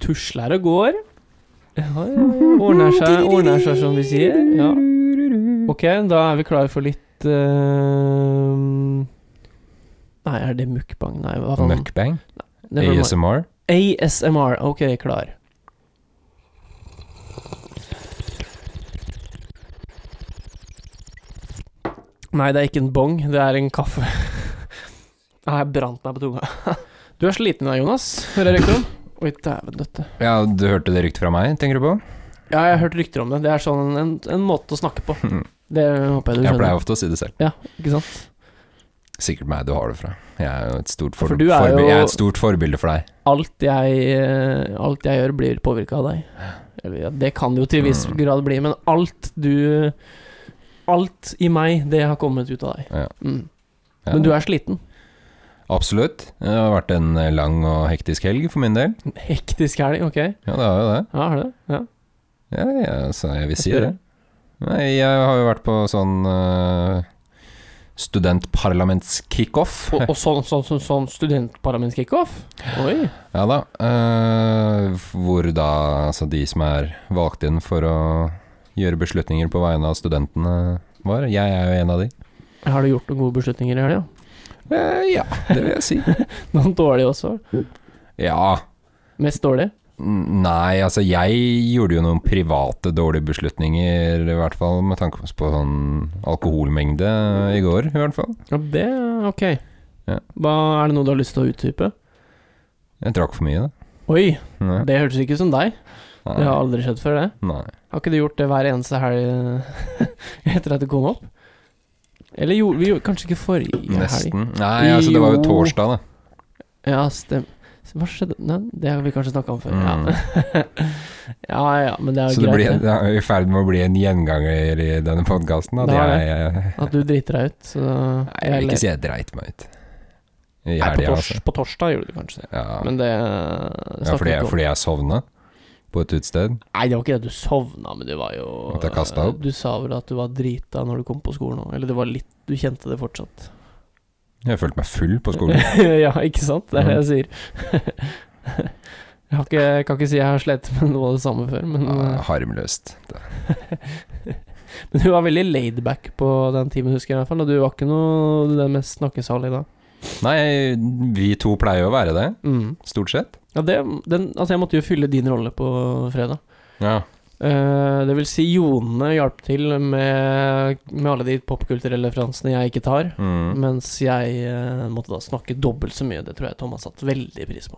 tusler og går. Ja, ja, ja. Ordner seg, ordner seg, som de sier. Ja. Ok, da er vi klare for litt eh, Nei, er det mukbang? Nei, hva faen? Mukbang? Never mind. ASMR? ASMR. Ok, klar. Nei, det er ikke en bong, det er en kaffe. Nei, Jeg brant meg på tunga. Du er sliten i dag, Jonas. Hører jeg rykter om? Oi, dæven døtte. Ja, du hørte det ryktet fra meg, tenker du på? Ja, jeg har hørt rykter om det. Det er sånn en, en måte å snakke på. Det håper jeg du Jeg skjønner. pleier ofte å si det selv. Ikke sant? Sikkert meg du har det fra. Jeg er jo et stort, For for du er forbi- jo- jeg er et stort forbilde for deg. Alt jeg, eh, alt jeg gjør, blir påvirka av deg. Eller, ja, det kan det jo til en viss Mm. grad bli, men alt du Alt i meg, det har kommet ut av deg. Ja. Mm. Ja. Men du er sliten. Absolutt. Det har vært en eh, lang og hektisk helg for min del. Hektisk helg, ok? Ja, det har jo det. Ja, er det? Ja. Ja, ja, altså, jeg vil Jeg si spør det. Nei, jeg har jo vært på sånn uh, studentparlamentskickoff. Og, og sånn, sånn, sånn, sånn studentparlamentskickoff? Oi. Ja da. eh, hvor da altså de som er valgt inn for å gjøre beslutninger på vegne av studentene, var. Jeg er jo en av de. Har du gjort noen gode beslutninger i helga? Eh, ja, det vil jeg si. Noen dårlige også? ja. Mest dårlige? N- Nei, altså jeg gjorde jo noen private dårlige beslutninger, i hvert fall med tanke på sånn alkoholmengde i går, i hvert fall. Ja, det Ok. Ja. Hva, er det noe du har lyst til å utdype? Jeg drakk for mye, da. Oi, Nei. det hørtes ikke ut som deg. Det har aldri skjedd før, det. Nei. Har ikke du gjort det hver eneste helg eh, etter at du kom opp? Eller gjorde vi gjorde kanskje ikke forrige helg? Nesten. Nei, altså det var jo Jo. torsdag, da. Ja, stem. Hva skjedde Nei, det har vi kanskje snakka om før. Mm. Ja. ja ja, men det er Så jo det, greit det. blir, det er i ferd med å bli en gjenganger i denne podkasten. Det Det er er at du driter deg ut. Så Nei, jeg vil ikke si jeg dreit meg ut. I Nei, på, helga, tors altså. på torsdag gjorde du kanskje det. Ja. Men det ja, fordi, jeg, om. fordi jeg sovna på et utested. Nei, det var ikke det. Du sovna, men det var jo At jeg kastet opp? Du sa vel at du var drita når du kom på skolen òg. Eller det var litt Du kjente det fortsatt. Jeg følte meg full på skolen. ja, ikke sant? Det er det jeg sier. jeg har ikke, jeg kan ikke si jeg har slitt med noe av det samme før, men, Ah, eh, Ja, Harmløst. men du var veldig laidback på den timen, husker jeg i hvert fall. Og du var ikke noe den mest snakkesalige da. Nei, vi to pleier jo å være det, stort sett. Ja, det, den, altså jeg måtte jo fylle din rolle på fredag. Ja. Eh, det vil si, Jone hjalp til med, med alle de popkulturelle referansene jeg ikke tar. Mm. Mens jeg eh, måtte da snakke dobbelt så mye. Det tror jeg Thomas satte veldig pris på.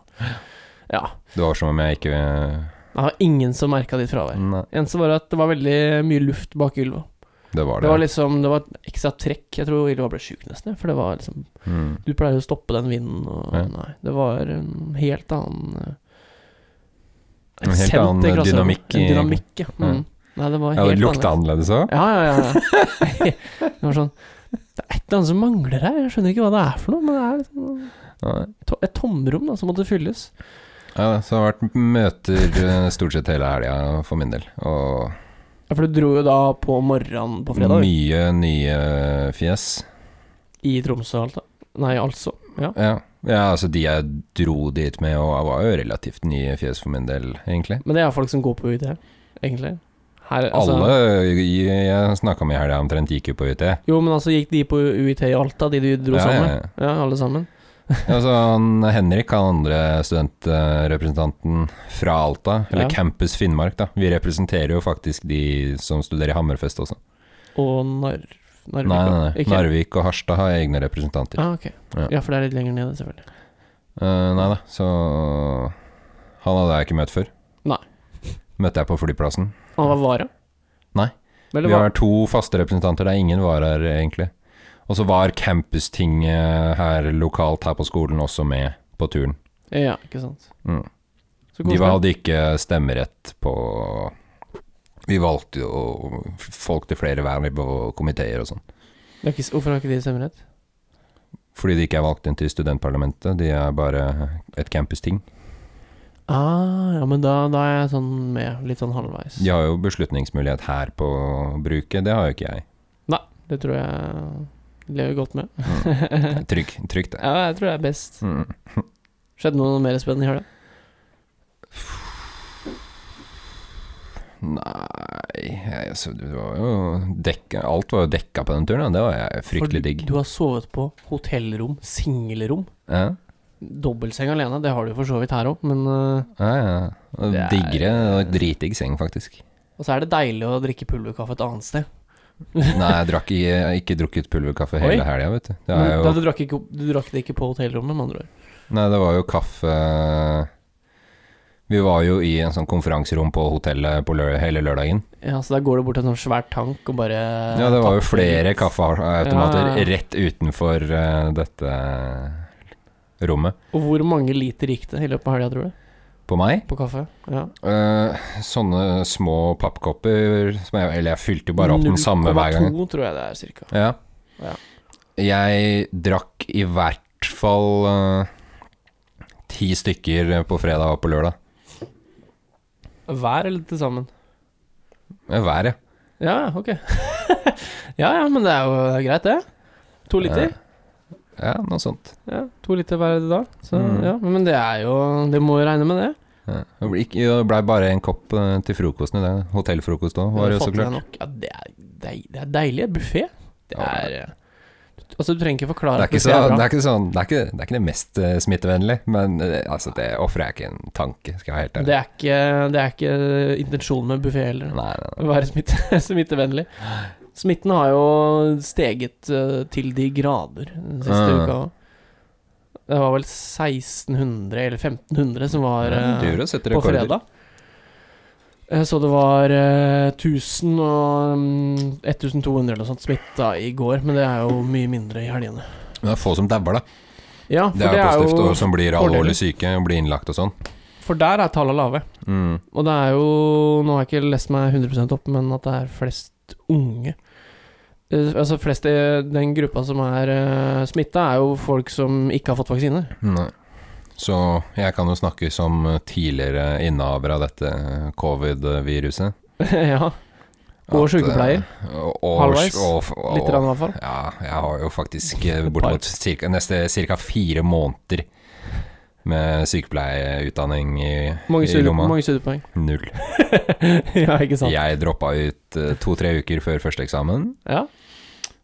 Ja. Det var som om jeg ikke Det var ingen som merka ditt fravær. Nei, Eneste var at det var veldig mye luft bak Ylva. det var det. Det var liksom Det var et ekstra trekk. Jeg tror Ylva ble sjuk nesten, jeg, for det var liksom mm. Du pleier jo å stoppe den vinden og Ja. Nei. Det var en helt annen eh, En helt aksept i annen klasserommet. dynamikk i- En dynamikk, ja. Mm. Ja. Nei, det var Ja, helt det lukta annerledes òg. Ja, ja, ja. ja. det var sånn Det er et eller annet som mangler her. Jeg skjønner ikke hva det er for noe, men det er liksom Ja. to et tomrom da, som måtte fylles. Ja, så det har vært møter eh, stort sett hele helga for min del. Og Ja, For du dro jo da på morgenen på fredag mye nye fjes. i Tromsø og alt da. Nei, altså. Ja. Ja. ja, altså de jeg dro dit med, og jeg var jo relativt nye fjes for min del, egentlig. Men det er folk som går på UiT, egentlig. Her, altså, Alle jeg- jeg snakka med i helga omtrent gikk jo på UT. Jo, men altså gikk de på UiT i Alta, de du dro Ja, sammen med? ja, ja. Ja, alle sammen. Altså, han, Henrik, han andre studentrepresentanten fra Alta, eller Ja. Campus Finnmark, da. Vi representerer jo faktisk de som studerer i Hammerfest også. Og Nar Narvik. Nei, nei, nei. Ikke? Narvik og Harstad har egne representanter. Ah, ok. Ja. Ja, for det er litt lenger nede, selvfølgelig. Eh, nei da, så Han hadde jeg ikke møtt før. Nei. Møtte jeg på flyplassen. Han var Vara? Nei. Eller Vi var har to faste representanter der ingen var her, egentlig. Og så var campustinget her lokalt her på skolen også med på turen. Ja, ikke sant. Mm. Så De koselig. var- hadde ikke stemmerett på Vi valgte jo folk til flere verv og komiteer og sånn. Det er ikke, s- hvorfor har ikke de stemmerett? Fordi de ikke er valgt inn til studentparlamentet, de er bare et campusting. Ah, ja, men da, da er jeg sånn med, litt sånn halvveis. De har jo beslutningsmulighet her på bruket, det har jo ikke jeg. Det tror jeg lever godt med. Trygg, trygg det. Ja, jeg tror det er best. Mm. Skjedde noe mer spennende i helga? Nei jeg, så det var jo dekka, Alt var jo dekka på den turen. Da. Det var jeg fryktelig digg. Du har sovet på hotellrom, singelrom. Ja, Dobbeltseng alene, det har du jo for så vidt her òg, men eh, ja, ja. Og Det er- Diggere. det var Dritdigg seng, faktisk. Og så er det deilig å drikke pulverkaffe et annet sted. Nei, jeg drakk i- jeg har ikke drukket pulverkaffe Oi. hele helga, vet du. Det, Men er da, jo, du, drakk ikke, du drakk det ikke på hotellrommet, med andre ord. nei, det var jo kaffe Vi var jo i en sånn konferanserom på hotellet på lø hele lørdagen. Ja, Så der går du bort til en sånn svær tank og bare Ja, det var jo tapper flere litt. kaffeautomater Ja. rett utenfor eh, dette rommet. Og hvor mange liter gikk det i løpet av helga, tror du? På meg? På kaffe? Ja. Eh, sånne små pappkopper som jeg, Eller jeg fylte jo bare opp den samme hver gang. 0,2 tror jeg det er, cirka. Ja. Ja. Jeg drakk i hvert fall eh, ti stykker på fredag og på lørdag. Hver eller til sammen? Eh, Hver, ja. Ja, ja, ok. ja, ja, men det er jo det er greit, det. To liter. Ja, noe sånt. Ja, to liter hver dag. Så Mm. ja, men det er jo Det må jo regne med det. Ja. Det ble ikke- det blei bare en kopp eh, til frokosten i det. Hotellfrokost òg, var det jo så Fått i deg klart. nok. Ja, det er, deil, det er deilig. Buffé. Det Ja, er eh, Altså, du trenger ikke Det forklare er, ikke at så, buffet det, bra. er ikke sånn, det, er ikke, det er ikke det mest eh, smittevennlige, men eh, altså, det ofrer jeg ikke en tanke, skal jeg være helt Det ærlig. er ikke, det er ikke eh, intensjonen med buffé heller. Nei, nei, Å være smitte, smittevennlig. Smitten har jo steget eh, til de grader den siste Mm. uka. Det var vel 1600 eller 1500 som var nei. eh, Du gjør å sette på rekorder. fredag. Eh, Så det var eh, 1000 og mm, 1200 eller noe sånt smitta i går, men det er jo mye mindre i helgene. Men det er få som dauer, da. Ja, for Det er jo positivt, og som blir fordeler. alvorlig syke og blir innlagt og sånn. For der er tallene lave. Mm. Og det er jo Nå har jeg ikke lest meg 100 opp, men at det er flest unge. Eh, altså flest i den gruppa som er uh, smitta, er jo folk som ikke har fått vaksine. Nei. Så jeg kan jo snakke som tidligere innehaver av dette covid-viruset. ja. Og At, eh, sykepleier. Og, og, Halvveis. Og, og, Litt, i hvert fall. Ja, jeg har jo faktisk eh, bortimot cirka, neste ca. fire måneder med sykepleieutdanning i, Mange, i studie, lomma. mange studiepoeng. Null. ja, ikke sant? Jeg droppa ut eh, to-tre uker før første eksamen. Ja.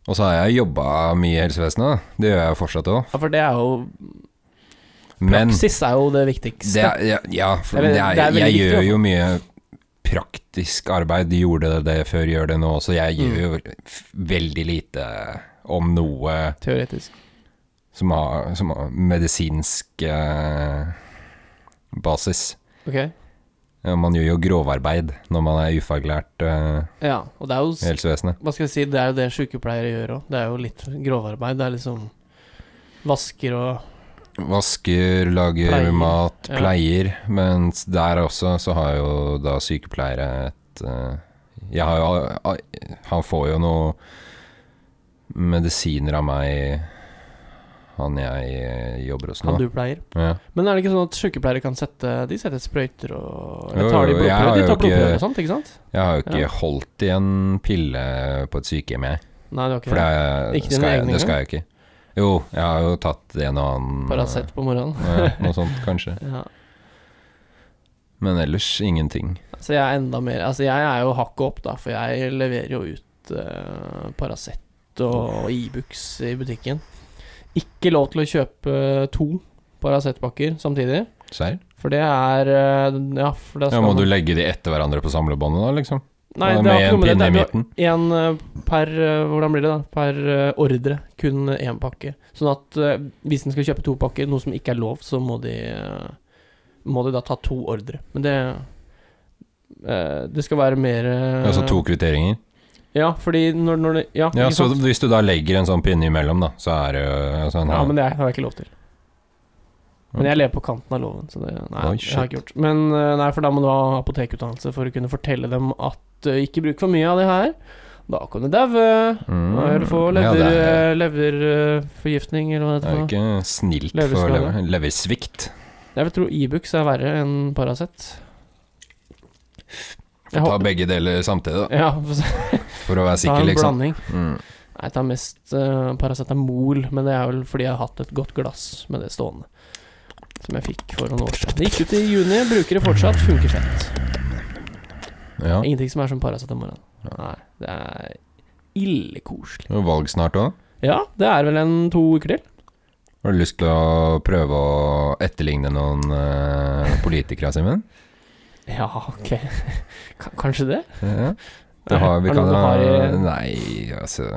Og så har jeg jobba mye i helsevesenet, da. det gjør jeg fortsatt òg. ja, for det er jo Men Praksis er jo det viktigste. det er, ja, ja, for Det er- det er, det er veldig jeg viktig, altså. gjør jo mye praktisk arbeid. De gjorde det, det før, gjør det nå også. Jeg gjør Mm. jo f- veldig lite, om noe, Teoretisk. som har, som har medisinsk eh, basis. Ok. Ja, Man gjør jo grovarbeid når man er ufaglært eh, Ja. Og det er jo i helsevesenet. Hva skal jeg si, det er jo det sykepleiere gjør òg. Det er jo litt grovarbeid. Det er liksom vasker og Vasker, lager Pleier, mat, ja. pleier. Mens der også så har jo da sykepleiere et eh, Jeg har jo Han får jo noe medisiner av meg, han jeg eh, jobber hos nå. kan du pleier. Ja. Men er det ikke sånn at sykepleiere kan sette De setter sprøyter og Jo, Eller tar de jo, jeg har blodprøver? De jo tar blodprøver ikke- og sånt, ikke sant? Jeg har jo ikke Ja. holdt i en pille på et sykehjem, jeg. Nei, det var ikke For det. det, Ikke dine skal jeg, egne det skal jeg ikke. Jo, jeg har jo tatt en og annen eh, Paracet på morgenen. Ja, noe sånt, kanskje. Ja. Men ellers ingenting. Så jeg er enda mer Altså, jeg er jo hakket opp, da, for jeg leverer jo ut uh, Paracet og Ibux i butikken. Ikke lov til å kjøpe eh, to Paracet-pakker samtidig. Serr? For det er eh, Ja, for da Ja, skal må man- du legge de etter hverandre på samlebåndet, da, liksom? Nei, Ja, det med har ikke en noe med det pinne det er- i midten. En eh, per eh, Hvordan blir det, da? Per eh, ordre. Kun én pakke. Sånn at eh, hvis en skal kjøpe to pakker, noe som ikke er lov, så må de eh, Må de da ta to ordre. Men det eh, Det skal være mer eh, Altså to kvitteringer? Ja, fordi når, når det Ja, Ja, ikke så sant? hvis du da legger en sånn pinne imellom, da, så er det jo altså, en ja, halv- men det er- har jeg ikke lov til. Men jeg lever på kanten av loven, så det nei, Oi, jeg har jeg ikke gjort. Men eh, nei, for da må du ha apotekutdannelse for å kunne fortelle dem at eh, ikke bruk for mye av det her. Da kan du daue. Mm. Hva gjør du for Ja, lever, eh, det er, leverforgiftning, eller hva det det er jo heter? ikke snilt Leverskade. for lever, leversvikt. for noe? Jeg vil tro Ibux er verre enn Paracet. Jeg Ta håper- begge deler samtidig, da, Ja, for å for å være ta sikker, en liksom. blanding. Mm. Nei, Jeg tar mest eh, paracetamol, men det er vel fordi jeg har hatt et godt glass med det stående. Som jeg fikk for noen år siden. Det gikk ut i juni, bruker det fortsatt, funker fett. Ja. Det er Ingenting som er som paracetamol. Ja. Nei, det er ille koselig. Det er Valg snart òg. Ja, det er vel en to uker til. Har du lyst til å prøve å etterligne noen eh, politikere, Simen? Ja, ok. Ka- Kanskje det? Ja. Det har vi Er det kan noe du har i- Nei, altså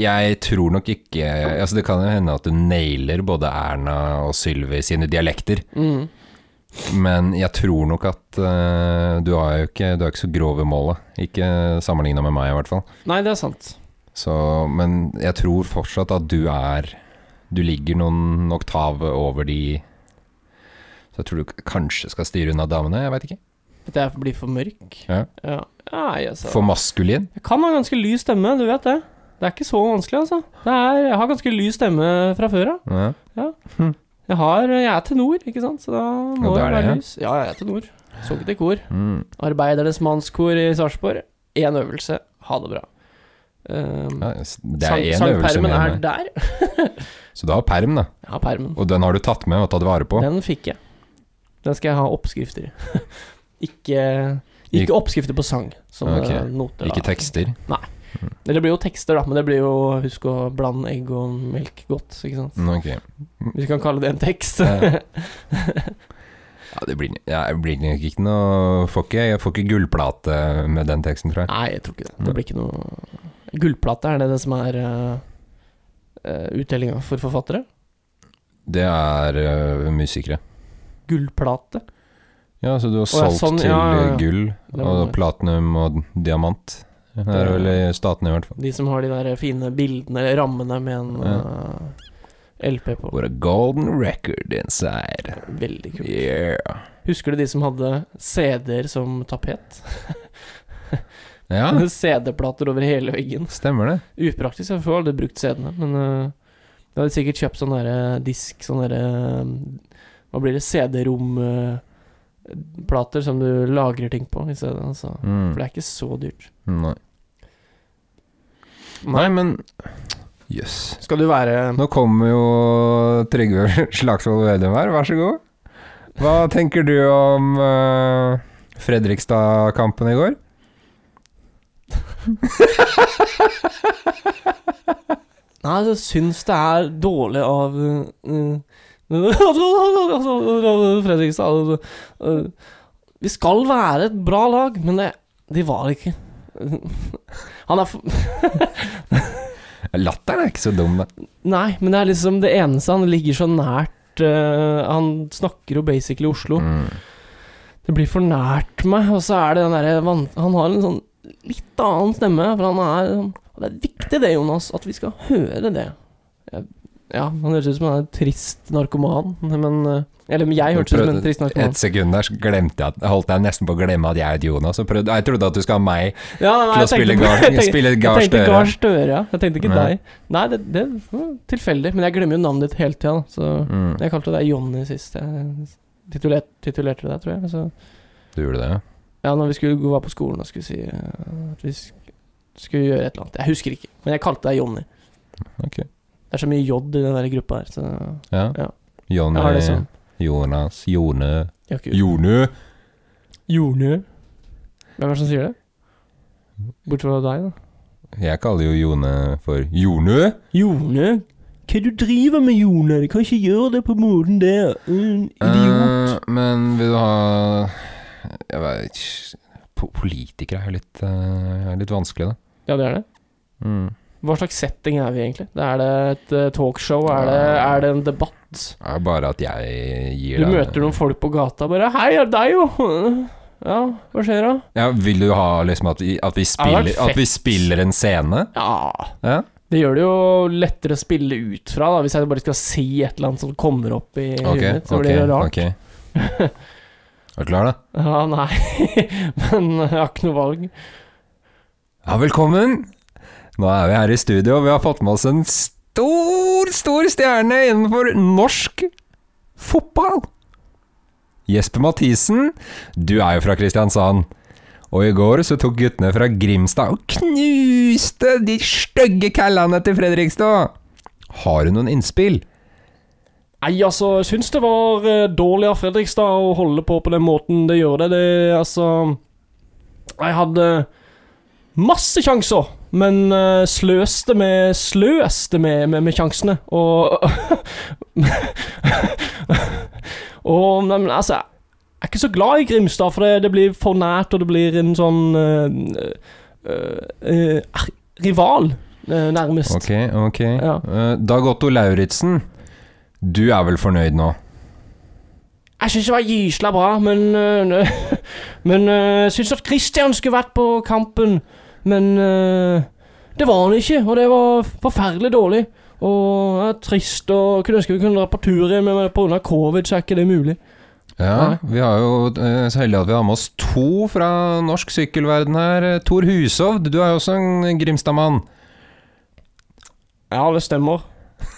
Jeg tror nok ikke Altså Det kan jo hende at du nailer både Erna og Sylvi sine dialekter, Mm. men jeg tror nok at eh, du er jo ikke, du er ikke så grov i målet. Ikke sammenligna med meg, i hvert fall. Nei, det er sant. Så, men jeg tror fortsatt at du er Du ligger noen oktaver over de Så jeg tror du k- kanskje skal styre unna damene, jeg veit ikke. At jeg blir for mørk. Ja. ja. ja jeg, sa- For maskulin. jeg kan ha ganske lys stemme, du vet det. Det er ikke så vanskelig, altså. Det er, jeg har ganske lys stemme fra før av. Ja. Jeg, har, jeg er tenor, ikke sant, så da må jeg Ja, det er det, være ja. lys. Ja, jeg er tenor. Sunget i kor. Mm. Arbeidernes mannskor i Sarpsborg. Én øvelse, ha det bra. Um, Ja, s- det er én sang- øvelse sangpermen er mer. enn det. der. Så du har perm, da. Ja, permen. Og den har du tatt med og tatt vare på. Den fikk jeg. Den skal jeg ha oppskrifter i. ikke, Ik- ikke oppskrifter på sang, som Ok. eh, noter. da. Ikke tekster. Eller det blir jo tekster, da, men det blir jo Husk å blande egg og melk godt, ikke sant. Mm, ok. Hvis vi kan kalle det en tekst. Ja. Ja, det blir, ja, det blir nok ikke noe får ikke, Jeg får ikke gullplate med den teksten, tror jeg. Nei, jeg tror ikke det. Nei. Det blir ikke noe Gullplate, er det det som er uttellinga for forfattere? Det er øh, musikere. Gullplate. Ja, så du har Å, ja, solgt sånn, til ja, ja, ja. gull Det var og det. platinum og diamant. Det er vel i statene i hvert fall. De som har de der fine bildene, eller rammene, med en eh, LP på. With a golden record inside. Veldig kult. Yeah. Husker du de som hadde CD-er som tapet? Ja, CD-plater over hele veggen. stemmer det. Upraktisk, jeg får aldri brukt CD-ene, men eh, jeg hadde sikkert kjøpt sånn derre disk, sånn derre eh, Hva blir det? CD-rom-plater som du lagrer ting på i stedet. Altså. Mm. For det er ikke så dyrt. Nei. Nei, men Jøss. Yes. Skal du være Nå kommer jo Trygve Slagsvold Vedum her, vær så god. Hva tenker du om eh, Fredrikstad-kampen i går? Nei, altså, jeg syns det er dårlig av eh, eh, Fredrikstad eh, Vi skal være et bra lag, men det, de var ikke Han er for, Latteren er ikke så dum, da. Nei, men det er liksom det eneste han ligger så nært eh, Han snakker jo basically Oslo. Mm. Det blir for nært meg, og så er det den derre van- Han har en sånn litt annen stemme, for han er sånn Og det er viktig det, Jonas, at vi skal høre det. Jeg- Ja, han høres ut som han er en trist narkoman, men eh, Eller men jeg hørtes ut som en trist narkoman. Et sekund der så glemte jeg at, holdt jeg nesten på å glemme at jeg er Jonas. Og prøvde, jeg trodde at du skal ha meg Ja, nei, til å spille på- Gar- jeg tenkte- spille jeg Gahr tenkte Støre. Gahr Støre, ja. Jeg tenkte ikke Ja. deg. Nei, det, det var tilfeldig, men jeg glemmer jo navnet ditt hele tida, da, så Mm. Jeg kalte deg Jonny sist jeg titulerte, titulerte deg, tror jeg. Så Du gjorde det, ja? Ja, når vi skulle gå var på skolen og skulle si eh, at vi sk skulle gjøre et eller annet. Jeg husker ikke, men jeg kalte deg Jonny. Ok. Det er så mye J i den der gruppa her, så jeg Ja. Ja. Jonny, har det sånn. Jonas, Jone Jeg har ikke Jonu! Jonny. Hvem er det som sier det? Bortsett fra deg, da. Jeg kaller jo Jone for Jonu. Jone? Hva du driver med, Jone? Du kan ikke gjøre det på måten der. En idiot. Eh, men vil du ha Jeg vet ikke po- Politikere er jo litt, eh, er litt vanskelig, da. Ja, det er det. Mm. Hva slags setting er vi egentlig? Er det et eh, talkshow? Er det, er det en debatt? Det er bare at jeg gir Du deg- møter noen folk på gata bare 'Hei, er det deg, jo?' Ja, hva skjer da? ja, Vil du ha liksom at vi, at vi, vært spiller, at vi fett. spiller en scene? Ja, Ja. Det gjør det jo lettere å spille ut fra, da, hvis jeg bare skal si et eller annet som kommer opp i Ok, huet mitt. Så ok, blir det rart. ok. Er du klar, da? Ja, nei, men jeg har ikke noe valg. Ja, velkommen! Nå er vi her i studio, og vi har fått med oss en stor, stor stjerne innenfor norsk fotball. Jesper Mathisen, du er jo fra Kristiansand. Og i går så tok guttene fra Grimstad og knuste de stygge kallene til Fredrikstad. Har du noen innspill? Nei, altså, jeg syns det var eh, dårlig av Fredrikstad å holde på på den måten det gjør det. Det, altså Jeg hadde masse sjanser, men eh, sløste med Sløste med, med, med sjansene, og Og nei, men altså Jeg er ikke så glad i Grimstad, for det, det blir for nært, og det blir en sånn eh, eh, eh, er- Rival, eh, nærmest. Ok, ok. Ja. Eh, Dag Otto Lauritzen, du er vel fornøyd nå? Jeg syns det var gysla bra, men øh, Men øh, jeg syns at Christian skulle vært på kampen. Men øh, det var han ikke, og det var forferdelig dårlig. Og det er trist, og kunne ønske vi kunne dra på tur igjen, men pga. covid så er ikke det mulig. Ja, vi har jo eh, så heldig at vi har med oss to fra norsk sykkelverden her. Eh, Tor Hushovd, du er jo også en Grimstad-mann. Ja, det stemmer.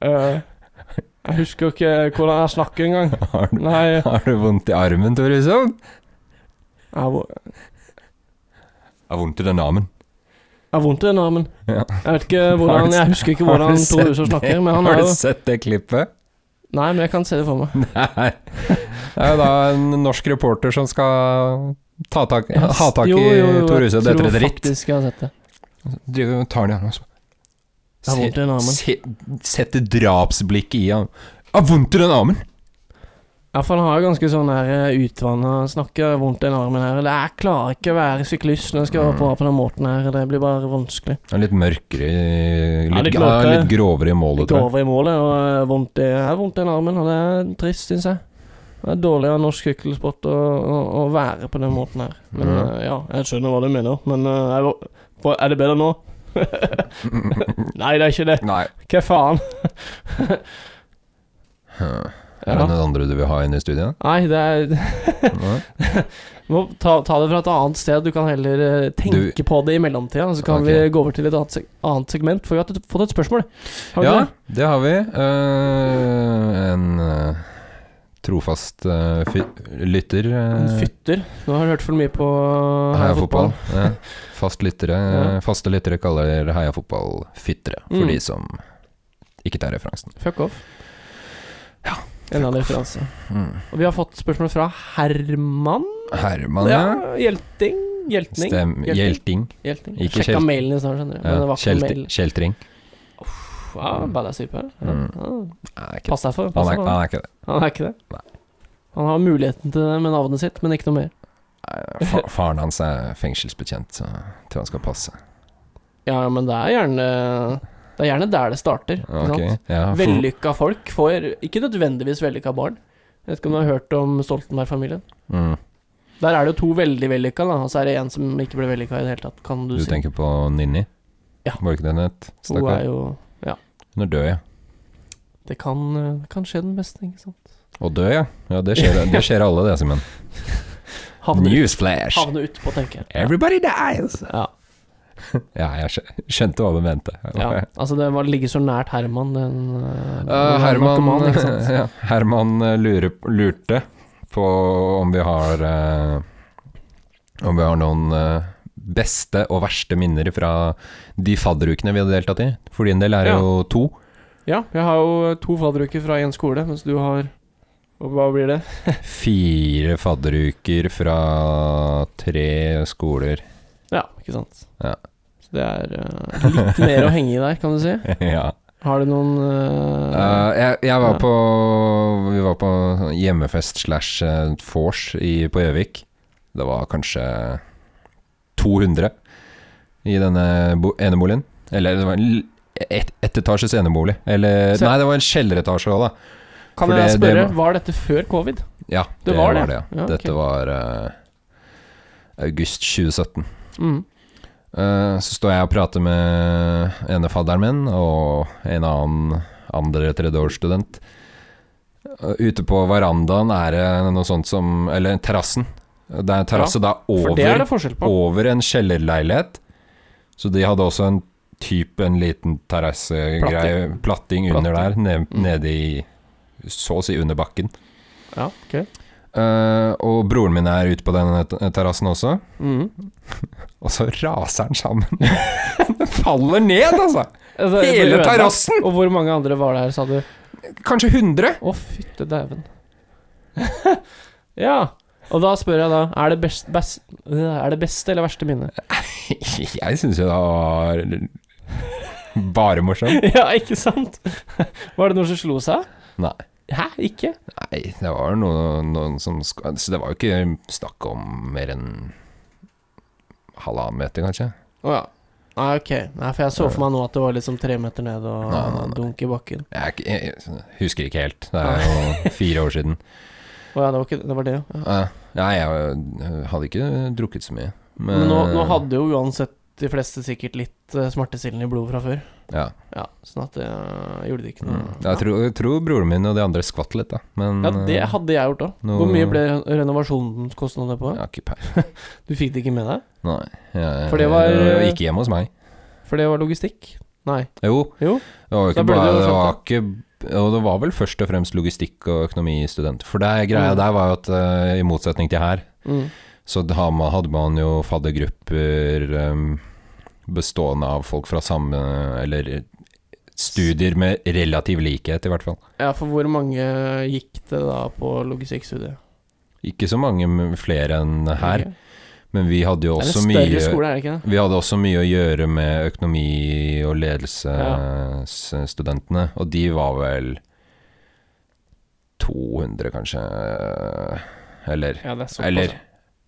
Eh, jeg husker ikke hvordan jeg snakker engang. Har, du- Nei, jeg, har du vondt i armen, Tor Hushovd? jeg Jeg har vondt i den armen. har vondt i den armen. Ja. Jeg vet ikke hvordan, jeg husker ikke Har hvordan du Tor sett Hushovd snakker, det? men han Har er du jo sett det klippet? Nei, men jeg kan se det for meg. Nei. Det er jo da en norsk reporter som skal ta tak, Jeg ha tak i jo, jo, jo, Tor Hushovd etter et Jeg tror ritt. faktisk jeg har sett det. Driver og tar den i armen og så Jeg har vondt i den armen. se, Setter drapsblikket i ham. Jeg har vondt i den armen! Ja, for han har jo ganske sånn her eh, utvanna Snakker vondt i den armen her. Eller jeg klarer ikke å være syklist når jeg skal være på på den måten her. Det blir bare vanskelig. Han er Litt mørkere i- Ja, litt Litt, ja, mørkere. litt grovere i målet, Ikke tror jeg. over i målet, og eh, vondt i, jeg har vondt i den armen. Og det er trist, syns jeg. Det er dårlig av norsk sykkelsport å, å, å være på den måten her. Men Ja. eh, ja, jeg skjønner hva du mener. Men eh, jeg, var- for- er det bedre nå? Nei, det er ikke det. Mm, Nei. Hva faen? Er det Ja. noen andre du vil ha inn i studiet? Nei, det er Nei. Må ta, ta det fra et annet sted. Du kan heller eh, tenke på det i mellomtida. Så kan Ok. vi gå over til et annet, seg annet segment, for vi har t- fått et spørsmål. Har vi Ja, det? det har vi. Eh, en eh, trofast eh, fy- lytter eh, En fytter. Nå har du hørt for mye på Heia fotball. Ja. Fast lyttere, Ja. Faste lyttere kaller heia fotball fyttere, for Mm. de som ikke tar referansen. Fuck off. En annen referanse. Mm. Og vi har fått spørsmål fra Herman. Herman, ja. Ja, Hjelting. Hjeltning. Stem, Hjelting. Hjelting. Hjelting. Ikke Sjekka Kjelt- mailen i stad, skjønner du. Men det Ja. var ikke Kjelt, mail. kjeltring. Ja, badass type. Ja. Mm. Ja. Nei, ikke, Pass deg for. han, Pass er, deg for. han er ikke det. Han er ikke det. Nei. Han har muligheten til det med navnet sitt, men ikke noe mer. Nei, fa- Faren hans er fengselsbetjent, så til han skal passe. Ja, men det er gjerne Det er gjerne der det starter. Ikke Ok, sant? ja, for- Vellykka folk får ikke nødvendigvis vellykka barn. Jeg vet ikke om du har hørt om Stoltenberg-familien? Mm. Der er det jo to veldig vellykka, da, og så er det en som ikke ble vellykka i det hele tatt, kan du, Du si. tenker på Ninni? Ja. Var det ikke det hun het? Hun er Stakkar. jo Hun er død, ja. Det kan, eh, kan skje den beste, ikke sant. Å dø, ja. ja det, skjer, det skjer alle, det, Simen. Havne, ut- Newsflash! havne utpå, tenker jeg. Everybody dies! Ja, Ja, jeg skj- skjønte hva du mente. ja. Altså, det var ligge så nært Herman, den eh, Eh, den Herman, eh, narkomanen, ikke sant? ja, Herman eh, lurer, lurte på om vi har eh, Om vi har noen eh, beste og verste minner fra de fadderukene vi hadde deltatt i. For din del er det Ja. jo to. Ja, jeg har jo to fadderuker fra én skole, mens du har og Hva blir det? Fire fadderuker fra tre skoler. Ja, ikke sant. Ja. Så det er eh, litt mer å henge i der, kan du si. ja. Har du noen eh, Eh, jeg, jeg Ja. var på Vi var på hjemmefest slash eh, vors i- på Gjøvik. Det var kanskje 200 i denne bo, eneboligen. Eller det var en l- et, ettetasjes enebolig. Eller Så- Nei, det var en kjelleretasje òg, da. Kan for jeg det- det spørre, var- var dette før covid? Ja, Det var det. ja. Ja, ok. Dette var eh, august 2017. Mm. Eh, så står jeg og prater med ene fadderen min og en annen andre-tredjeårsstudent. Eh, Ute på verandaen er det noe sånt som Eller terrassen. Det er en terrasse da For det er over, det forskjell på. over en kjellerleilighet. Så de hadde også en type en liten terrassegreie, platting. under der, ned, Mm. nede i Så å si under bakken. Ja, ok. Eh, og broren min er ute på denne t- terrassen også. Mhm. Og så raser han sammen. Den faller ned, altså! Altså, det ble Hele ødelagt. terrassen! Og hvor mange andre var der, sa du? Kanskje 100? Å, fytte dæven. ja. Og da spør jeg da, er det, best, best, øh, er det beste eller verste minnet? Jeg syns jo det var bare morsomt. ja, ikke sant? Var det noen som slo seg? Nei. Hæ, ikke? Nei, det var noe, noen som sk- Så det var jo ikke snakk om mer enn halvannen meter, kanskje. Å ja. Nei, ok. Nei, for jeg så for meg nå at det var liksom tre meter ned og Nei, nei, nei. dunk i bakken. Jeg, er ikke- jeg, jeg husker ikke helt. Det er jo fire år siden. Å ja, det var, ikke, det, var det, ja. Eh, Nei, jeg hadde ikke drukket så mye. Men nå, eh, nå hadde jo uansett de fleste sikkert litt uh, smertestillende i blodet fra før. ja. Ja, sånn at det eh, gjorde det ikke noe. Mm. Jeg, tror, jeg tror broren min og de andre skvatt litt, da. Men Ja, det eh, hadde jeg gjort òg. nå- Hvor mye ble renovasjonskostnadene på? jeg har ikke peil. Du fikk det ikke med deg? Nei. Jeg, For det var- jeg- Ikke hjemme hos meg. For det var logistikk? Nei. Jo, Jo. det var jo Da ikke burde bare det jo det var skjønt ikke, Og det var vel først og fremst logistikk og økonomistudenter. For det greia Mm. der var jo at eh, i motsetning til her, Mm. så da har man- hadde man jo faddergrupper eh, bestående av folk fra samme Eller eh, studier med relativ likhet, i hvert fall. Ja, for hvor mange gikk det da på logistikkstudiet? Ikke så mange men flere enn her, Ok. men vi hadde jo Det er også en mye større skole, er det ikke det? Vi hadde også mye å gjøre med økonomi- og ledelsesstudentene, og de var vel 200, kanskje. Eller Ja, det er såpass. Eller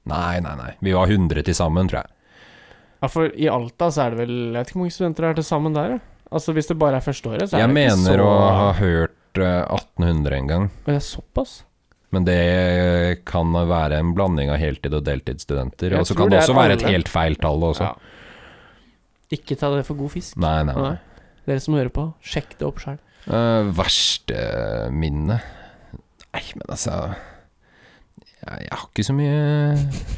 Nei, nei, nei. Vi var 100 til sammen, tror jeg. Ja, for i Alta så er det vel Jeg vet ikke hvor mange studenter det er til sammen der. ja. Altså Hvis det bare er førsteåret, så er Jeg det ikke så mener å ha hørt eh, 1800 en gang, Men det er såpass? men det kan være en blanding av heltid- og deltidsstudenter. Jeg Og så tror kan det det er også være et alle. helt feil tall også. Ja. Ikke ta det for god fisk. Nei, nei, nei. Nei. Dere som hører på, sjekk det opp sjøl. Uh, verste eh, minne Nei, men altså Jeg, jeg har ikke så mye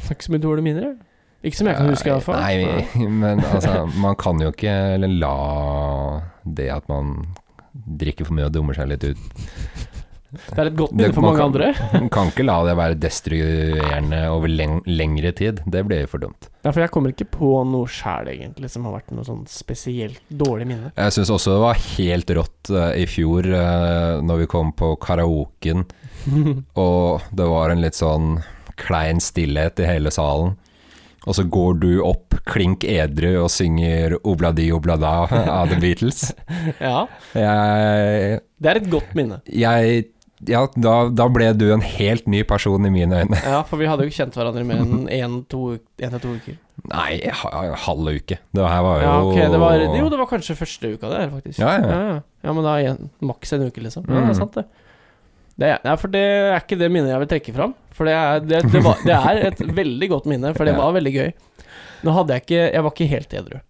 Ikke så mye dårlige minner, eller? Ikke som jeg kan huske, iallfall. Nei, men altså Man kan jo ikke la det at man drikker for mye og dummer seg litt ut Det er et godt Det- minne for man mange kan- andre. Man kan ikke la det være destruerende over leng lengre tid. Det blir jo for dumt. Ja, for jeg kommer ikke på noe sjæl, egentlig, som har vært noe sånn spesielt dårlig minne. Jeg syns også det var helt rått eh, i fjor uh, når vi kom på karaoken, og det var en litt sånn klein stillhet i hele salen. Og så går du opp klink edru og synger 'Obladi oblada' av The Beatles. ja, Jeg, det er et godt minne. jeg Ja, da, da ble du en helt ny person i mine øyne. Ja, for vi hadde jo ikke kjent hverandre i mer enn én til to uker. Nei, ha- halv uke. Det her var jo Ja, ok, det var, jo, det var kanskje første uka det, her, faktisk. Ja, ja. ja. ja. Ja, men da igjen, maks en uke, liksom. Ja, det Mm. er sant, det. Det er, ja, for det er ikke det minnet jeg vil trekke fram. For det er, det, det var, det er et veldig godt minne, for det Ja. var veldig gøy. Nå hadde jeg ikke Jeg var ikke helt edru.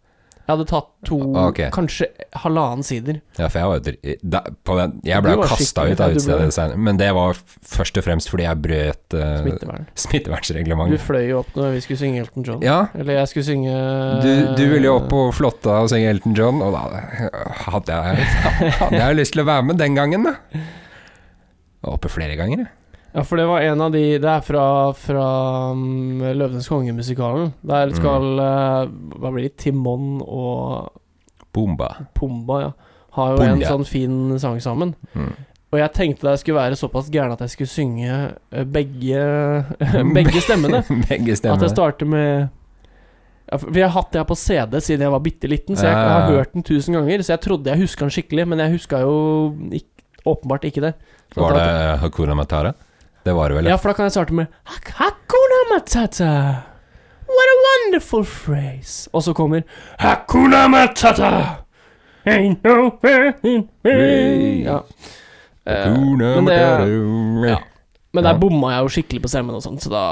Jeg hadde tatt to, Ah, Ok. kanskje halvannen sider. Ja, for jeg var jo dri- da, på den, Jeg Du ble var jo kasta skikkelig- ut ja, du av ble utstedet det. senere, men det var f- først og fremst fordi jeg brøt eh, Smittevern. Du smittevernreglementet. fløy jo opp når vi skulle synge Elton John. Ja, Eller jeg skulle synge du, Eh. du ville jo opp på Flåtta og synge Elton John, og da hadde jeg, hadde jeg lyst til å være med den gangen, da. Jeg var Oppe flere ganger, jeg. Ja, for det var en av de Det er fra, fra um, Løvenes konge-musikalen. Der Mm. skal eh, Hva blir det? Timon og Bomba. Pumba, ja. Har jo en Pumba. sånn fin sang sammen. Mm. Og jeg tenkte jeg skulle være såpass gæren at jeg skulle synge eh, begge Begge stemmene. At Begge jeg stemmer. starter med ja, for Vi har hatt det her på CD siden jeg var bitte liten, så jeg Ja, ja, har ja. hørt den tusen ganger. Så jeg trodde jeg huska den skikkelig, men jeg huska jo ikk- åpenbart ikke det. Så Var da- det Hakuna Matara? Det var det vel? Ja, for da kan jeg starte med Hak- Hakuna Matata. What a wonderful phrase. Og så kommer Hakuna Matata. Ain't no pain in- ja. Eh, Hakuna men det- Matata. ja. Men der Ja. bomma jeg jo skikkelig på stemmen og sånn, så da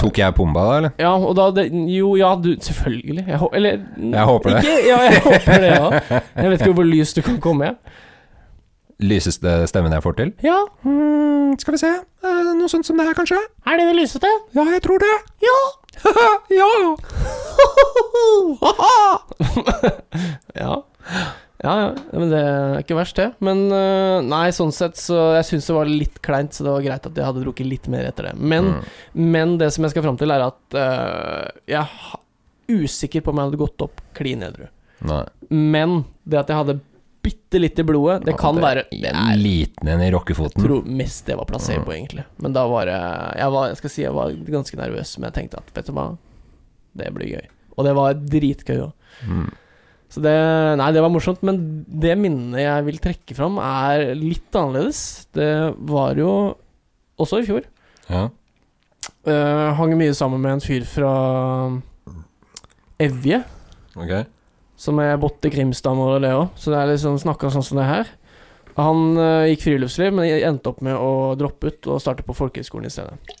Tok jeg Pumba da, eller? Ja, og da det, Jo, ja, du Selvfølgelig. Jeg, hå- eller Jeg håper det. Ikke, ja, jeg håper det, ja. Jeg vet ikke hvor lyst du kan komme. jeg. Lyseste stemmen jeg får til? Ja, Mm, skal vi se. Eh, noe sånt som det her, kanskje? er det det lysete? Ja, jeg tror det. Ja. ja. ja. Ja, ja, men det er ikke verst, det. Men eh, nei, sånn sett så Jeg syns det var litt kleint, så det var greit at jeg hadde drukket litt mer etter det. Men, Mm. men det som jeg skal fram til, er at eh, jeg er usikker på om jeg hadde gått opp klin edru. Nei. Men det at jeg hadde bitte litt i blodet, det Ja, kan være det det er er, Liten en i Jeg rockefoten. tror mest det var placebo, egentlig. Men da var det jeg, var, jeg skal si jeg var ganske nervøs, men jeg tenkte at vet du hva, det blir gøy. Og det var dritgøy òg. Mm. Så det Nei, det var morsomt, men det minnet jeg vil trekke fram, er litt annerledes. Det var jo også i fjor. Ja. Eh, hang mye sammen med en fyr fra Evje, Ok. som er botte Krimstad-mål og det òg, så det er liksom snakka sånn som det her. Han eh, gikk friluftsliv, men endte opp med å droppe ut og starte på folkehøgskolen i stedet.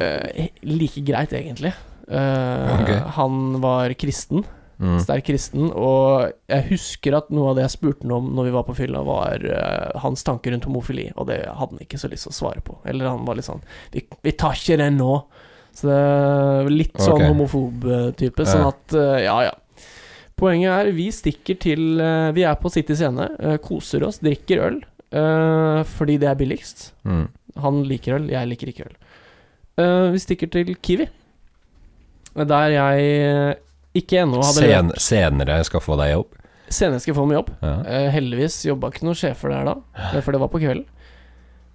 Eh, like greit, egentlig. Eh, Ok. Han var kristen. Mm. sterk kristen, og jeg husker at noe av det jeg spurte han om når vi var på fylla, var eh, hans tanker rundt homofili, og det hadde han ikke så lyst til å svare på. Eller han var litt sånn Vi, vi tar ikke det nå. Så det er litt sånn Ok. homofob-type. Sånn Ja. at eh, Ja, ja. Poenget er, vi stikker til eh, Vi er på City Scene, eh, koser oss, drikker øl, eh, fordi det er billigst. Mm. Han liker øl, jeg liker ikke øl. Eh, vi stikker til Kiwi. Der jeg eh, ikke ennå hadde Sen, senere skal få deg jobb. Senere skal jeg få meg jobb. Ja. Eh, heldigvis jobba ikke noen sjefer der da, eh, for det var på kvelden.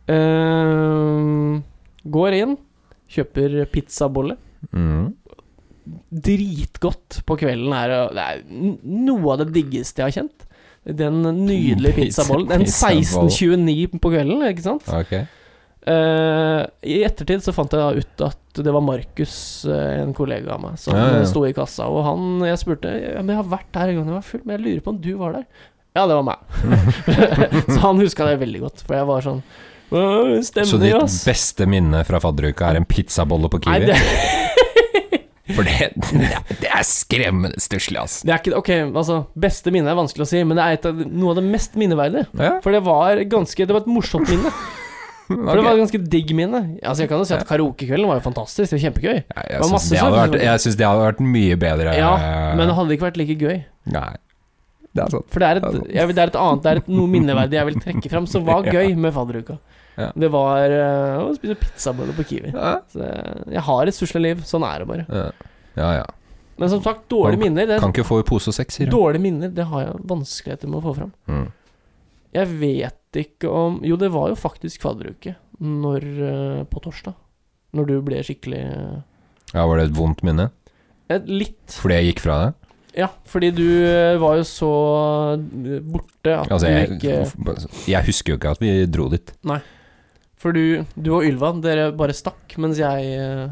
Eh, går inn, kjøper pizzabolle. Mm. Dritgodt på kvelden er det- det er n- noe av det diggeste jeg har kjent. Den nydelige Pizza- pizzabollen. En pizzaboll. 1629 på kvelden, ikke sant? Ok. Eh, I ettertid så fant jeg da ut at det var Markus, eh, en kollega av meg, som Ja, ja, ja. sto i kassa. Og han jeg spurte ja, men jeg har vært der en gang jeg var full, men jeg lurer på om du var der. Ja, det var meg. så han huska det veldig godt, for jeg var sånn «Åh, Så Stemmer, ditt ass. beste minne fra fadderuka er en pizzabolle på Nei, Kiwi? det, For det, det er skremmende stusslig, ass. det er ikke Ok, altså, beste minne er vanskelig å si, men det er et av, noe av det mest minneverdige. Ja, For det var ganske Det var et morsomt minne. For det var et ganske digg minne. Altså, jeg kan jo si at karaokekvelden var jo fantastisk, det var kjempegøy. Nei, var Jeg syns masse det, hadde saker vært- som- jeg synes det hadde vært mye bedre. Ja, Men det hadde ikke vært like gøy. Nei. Det er sant. For det er Ja, et, sant. jeg, vil- det er et annet, det er et noe minneverdig jeg vil trekke fram, som var gøy med fadderuka. Ja. Det var eh, å spise pizzaboller på Kiwi. Ja, Så jeg- jeg har et susla liv, sånn er det bare. ja. ja. ja. Men som sagt, dårlige minner det, Kan ikke få i pose og sekk, sier du. Dårlige minner, det har jeg vanskeligheter med å få fram. Mm. Jeg vet ikke om Jo, det var jo faktisk fadderuke når, eh, på torsdag. Når du ble skikkelig Ja, var det et vondt minne? eh, et Litt. Fordi jeg gikk fra deg? Ja, fordi du eh, var jo så eh, borte at Altså, du jeg, ikke jeg husker jo ikke at vi dro dit. For du, du og Ylva, dere bare stakk mens jeg eh,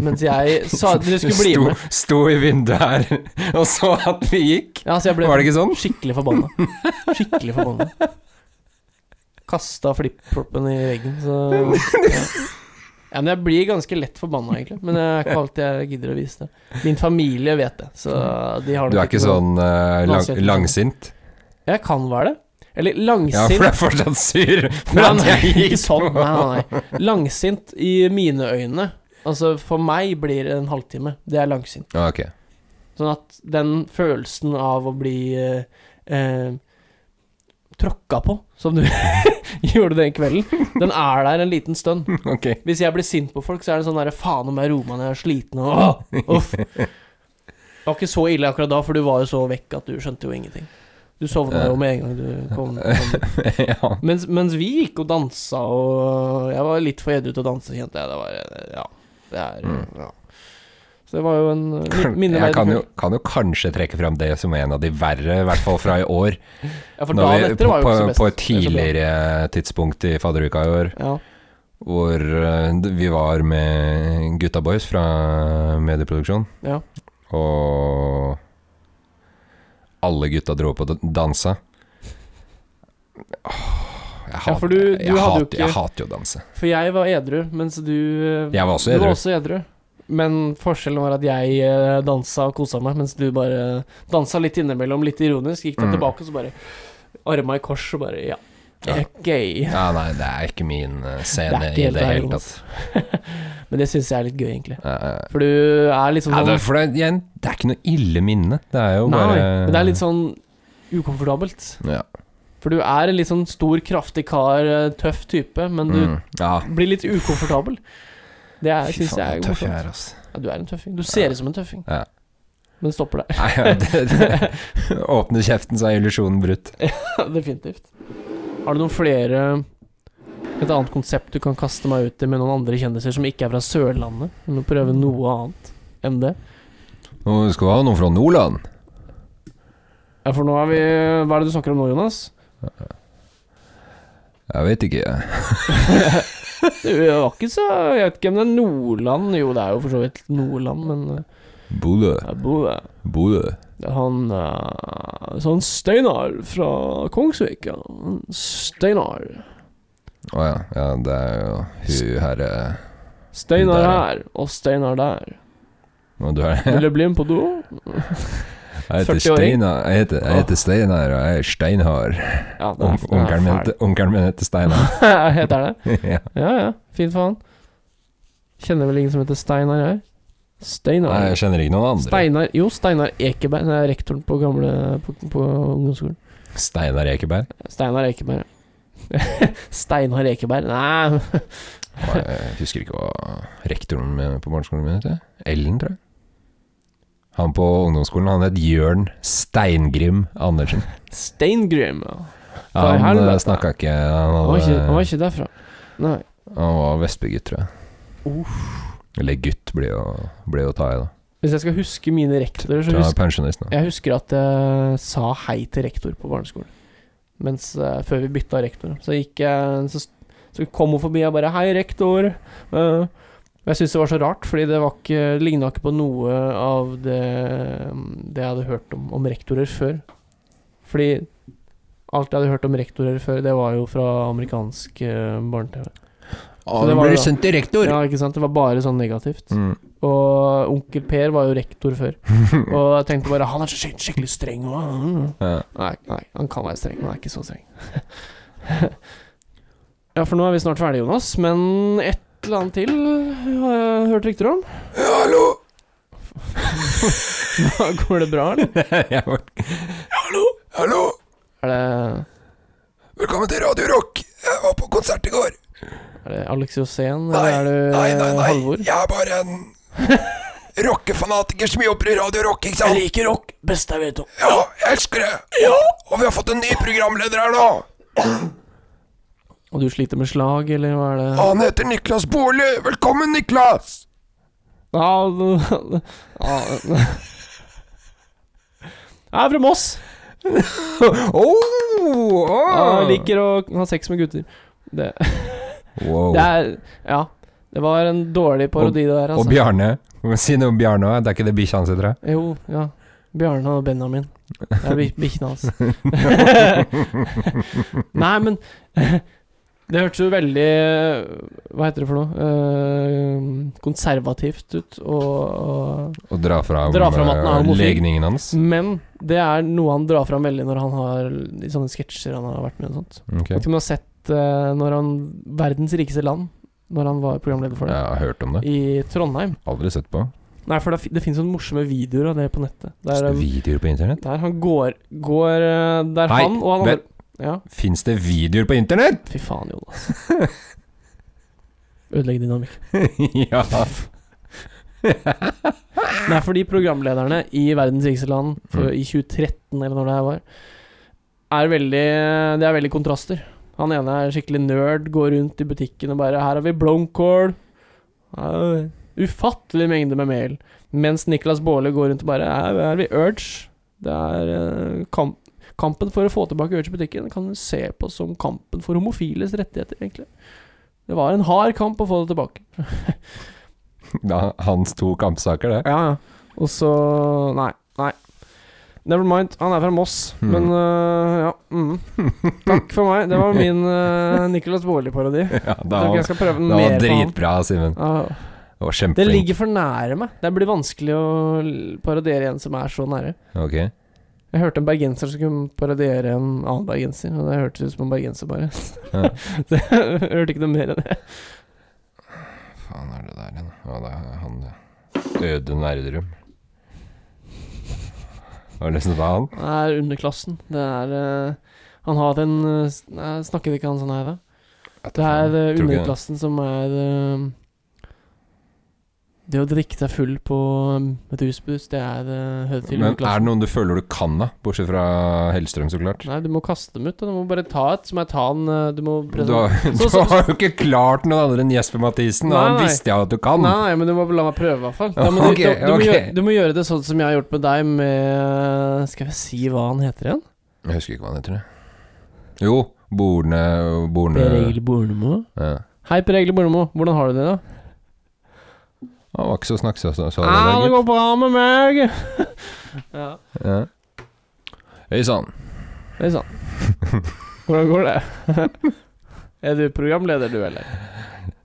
Mens jeg sa at dere skulle bli sto, med. sto i vinduet her og så at vi gikk. Ja, så jeg ble Var det ikke sånn? skikkelig forbanna. Skikkelig forbanna. Kasta flip-floppen i veggen, så ja. ja, men jeg blir ganske lett forbanna, egentlig. Men det er ikke alltid jeg gidder å vise det. Min familie vet det, så de har nok Du er ikke noe- sånn eh, lang, Langsint. langsint? Jeg kan være det. Eller Ja, for langsint. du er fortsatt sur for Nei, at nei, jeg ikke gikk sånn. på. Nei, nei, nei. Langsint i mine øyne. Altså, for meg blir det en halvtime. Det er langsint. Ja, Ah, ok. Sånn at den følelsen av å bli eh, eh, tråkka på, som du gjorde den kvelden, den er der en liten stund. Ok. Hvis jeg blir sint på folk, så er det sånn derre faen om jeg roer meg når jeg er sliten og åh, uff. Det var ikke så ille akkurat da, for du var jo så vekk at du skjønte jo ingenting. Du sovna jo med en gang du kom. kom. ja. Mens, mens vi gikk og dansa, og jeg var litt for edru til å danse, kjente jeg. Det var, ja, det er, Mm. ja. Så det var jo en min- Jeg minneverdig kan jo, kveld. kan jo kanskje trekke fram det som en av de verre, i hvert fall fra i år. Ja, for Når dagen vi- etter var jo på, ikke så best. på Det et er så bra. tidligere tidspunkt i fadderuka i år, Ja. hvor eh, vi var med gutta boys fra medieproduksjon. Ja. Og alle gutta dro opp og d- dansa. Åh, Jeg, Ja, hat- for du- du jeg, hadde jo hat- jeg ikke- hater jo å danse. For jeg var edru, mens du eh, Jeg var også Du edru. var også edru. Men forskjellen var at jeg eh, dansa og kosa meg, mens du bare dansa litt innimellom, litt ironisk. Gikk deg Mm. tilbake og så bare Arma i kors og bare Ja. er gøy. Ja, nei, det er ikke min eh, scene Det er ikke i helt det deg, hele tatt. Jonas. Men det syns jeg er litt gøy, egentlig. Ja, ja, ja. For du er litt sånn Ja, det, er- for det, er- igjen, det er ikke noe ille minne. Det er jo Nei, bare men det er litt sånn ukomfortabelt. Ja. For du er en litt sånn stor, kraftig kar, eh, tøff type, men du Mm, ja. blir litt ukomfortabel. Det er- Fy syns faen, jeg er så tøff jeg morsomt. er, altså. Ja, du er en tøffing. Du ser ut som en tøffing, Ja. men stopper der. Nei, ja, det, det, åpner kjeften, så er illusjonen brutt. Definitivt. Har du noen flere Et annet konsept du kan kaste meg ut i med noen andre kjendiser som ikke er fra Sørlandet? Du må prøve noe annet enn det. Nå skal du ha noen fra Nordland. Ja, for nå er vi Hva er det du snakker om nå, Jonas? Jeg vet ikke. jeg. Det var ikke så Jeg vet ikke om det er Nordland. Jo, det er jo for så vidt Nordland, men eh, Bodø. jeg bor der. Bodø. Det er Han eh, så han Steinar fra Kongsvik, ja. Han Steinar. Å ja. ja. Det er jo hun eh, herre Steinar Der, ja. her og Steinar der. Og du er Vil du bli med på do? Jeg heter 40-åring. Steinar, jeg heter, jeg heter Steinar og jeg er steinhard. Ja, det er- Onk- Onkelen min, heter- onkelen min heter Steinar. fæl. Heter det ja. Ja, ja. Fint faen. Kjenner vel ingen som heter Steinar, jeg. Steinar. Nei, jeg kjenner ikke noen andre. Steinar Jo, Steinar Ekeberg. Det er rektoren på gamle På, på ungdomsskolen. Steinar Ekeberg. Steinar Ekeberg. ja. Steinar Ekeberg Nei Nei, Jeg husker ikke hva rektoren min på barneskolen min het. Ellen, tror jeg. Han på ungdomsskolen han het Jørn Steingrim Andersen. Steingrim. ja. For Han helvete. snakka ikke Han, Han var hadde, ikke, han var ikke derfra. Nei. han var vestbygutt, tror jeg. Eller gutt blir jo, blir jo å ta i, da. Hvis jeg skal huske mine rektorer, så Tror han er husker pensjonist nå. jeg husker at jeg sa hei til rektor på barneskolen. Mens eh, før vi bytta rektor, så gikk jeg så, så kom hun forbi og bare 'Hei, rektor'. Eh, og jeg syntes det var så rart, fordi det var ikke ligna ikke på noe av det, det jeg hadde hørt om, om rektorer før. Fordi alt jeg hadde hørt om rektorer før, det var jo fra amerikansk eh, barne-TV. Så det nå var blir det da. du sendt til Eh, rektor! Ja, ikke sant? Det var bare sånn negativt. Mm. Og onkel Per var jo rektor før. Og jeg tenkte bare Han er så skik- skikkelig streng. og- mm, Ja. Nei, nei, han kan være streng, men han er ikke så streng. ja, for nå er vi snart ferdige, Jonas. Men et eller annet til har jeg hørt rykter om. Hallo! Går det bra, eller? Jeg var- Hallo! Hallo! Er det, Velkommen til Radio Rock! Jeg var på konsert i går. er det Alex Josén, eller er du Halvor? Jeg er bare en rockefanatiker som jobber i Radio Rock, ikke sant? liker rock best jeg vet om. Ja, jeg elsker det! Og vi har fått en ny programleder her nå. Og du sliter med slag, eller hva er det? Han heter Niklas Baarli. Velkommen, Niklas! Ja, det- ja. Jeg er fra Moss. Oh, Jeg liker å ha sex med gutter. Det, Wow. det er Ja. Det var en dårlig parodi, det der, Og altså. Bjarne. Si noe om Bjarne òg. Det er ikke det bikkja hans heter? det? Jo, ja. Bjarne og Benjamin. Det er bi- bikkjene hans. Nei, men Det hørtes jo veldig Hva heter det for noe? Eh, konservativt ut. Og, Å dra fram, Dra fram at den er eh, homofil. legningen hans? og Men det er noe han drar fram veldig når han har i sånne sketsjer han har vært med i og sånt. Ok. Vet ikke om du har sett eh, når han Verdens rikeste land, når han var programleder for Jeg det, har hørt om det. i Trondheim. Aldri sett på. Nei, for det, fi- det finnes sånne morsomme videoer av det på nettet. Der, eh, Videoer på internett? der han går, går eh, Der Hei, han og han vel- andre Ja, Fins det videoer på internett?! fy faen, Jonas. Ødelegg dynamikk. ja. Nei, fordi programlederne i Verdens rikeste land for, i 2013, eller når det her var, er veldig Det er veldig kontraster. Han ene er skikkelig nerd, går rundt i butikken og bare 'Her har vi blomkål'. Ja, Ufattelig mengde med mel. Mens Niklas Baarli går rundt og bare 'Her er vi Urge'. Det er eh, kamp, kampen for å få tilbake Urge i butikken kan du se på som kampen for homofiles rettigheter, egentlig. Det var en hard kamp å få det tilbake. Da, hans to kampsaker, det. Ja, ja. Og så Nei. nei Never mind. Han er fra Moss, Hmm. men øh, ja. Mm. Takk for meg. Det var min uh, Nicolas Baarli-parodi. Jeg Ja, det tror ikke var, jeg skal prøve den det var mer på han. dritbra, Simen. Ja. Det var Det kjempeflink. ligger for nære meg. Det blir vanskelig å l- parodiere en som er så nære. Ok. Jeg hørte en bergenser som kunne parodiere en annen bergenser, og det hørtes ut som en bergenser, bare. Ja. Så jeg hørte ikke noe mer enn det. faen er det der igjen? Ja, det er han ja. Øde Nerdrum. Har du lyst til å ta han? Det er underklassen. Det er eh, Han har den eh, s- Nei, snakket ikke han sånn her, da? Det er eh, Tror ikke det. underklassen som er eh, Det å drikke seg full på eh, et rusbrus, det er uh, hører til Men er det underklassen. noen du føler du kan, da? Bortsett fra Hellstrøm, så klart. Nei, du må kaste dem ut. da. Du må bare ta et som er tan. eh, Du må Du har, Så- så- du har jo ikke klart noen andre enn Jesper Mathisen, og Nei, han nei. visste jeg at du kan. Nei, nei, men du må la meg prøve, i hvert fall. Da må du, Ok, da, du, ok. Må gjøre, du må gjøre det sånn som jeg har gjort med deg, med Skal jeg si hva han heter igjen? Jeg husker ikke hva han heter. jeg. Jo, Borne Borne Per Egil Bornemo. ja. Hei, Per Egil Bornemo. Hvordan har du det, da? Han var ikke så snakksa som sa det. Ja, der, Ah, det gutt. går bra med meg! ja, Ja. Hei sann. det er sant. Hvordan går det? er du programleder, du, eller?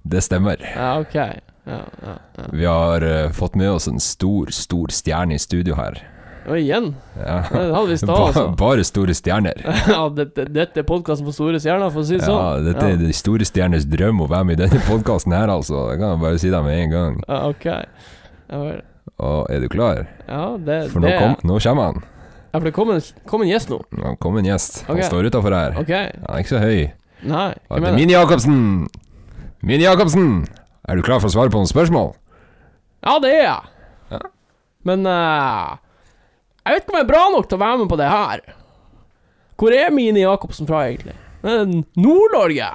Det stemmer. Ja, ok. Ja, ja, ja. Vi har eh, fått med oss en stor, stor stjerne i studio her. Og igjen. Ja. Det hadde vi i stad, Ba- altså. Bare store stjerner. ja, dette, dette er podkasten for store stjerner, for å si det sånn. Ja, dette er de store stjernes drøm å være med i denne podkasten her, altså. Det kan jeg bare si deg med en gang. ja, ok. Ja, vel. Og er du klar? ja, det, For nå, det kom, nå kommer han. Ja, for det kom en, kom en gjest nå. Nå kom en gjest. Han Ok. står utafor her. Ok. Han er ikke så høy. Nei. hvem er Han heter det? Mini Jacobsen. Mini Jacobsen, er du klar for å svare på noen spørsmål? Ja, det er jeg. Ja. Men eh, jeg vet ikke om jeg er bra nok til å være med på det her. Hvor er Mini Jacobsen fra, egentlig? Eh, Nord-Norge.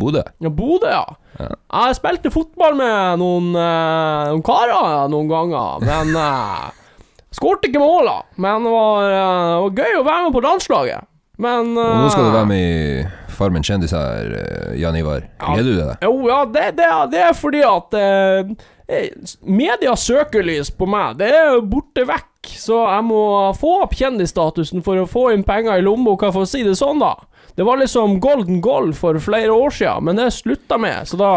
Bodø. Ja, Bodø, ja. Ja. Jeg spilte fotball med noen, eh, noen karer noen ganger, men uh, Skårte ikke mål, da. Men det var, eh, det var gøy å være med på landslaget. Men Og nå skal du være med i Farmen kjendis her, eh, Jan Ivar. Ja. Gleder du deg? eh, Jo, ja, det, det, er- det er fordi at eh, medias søkelys på meg, det er borte vekk. Så jeg må få opp kjendisstatusen for å få inn penger i lommeboka, for å si det sånn, da. Det var liksom golden goal for flere år siden, men det slutta med, så da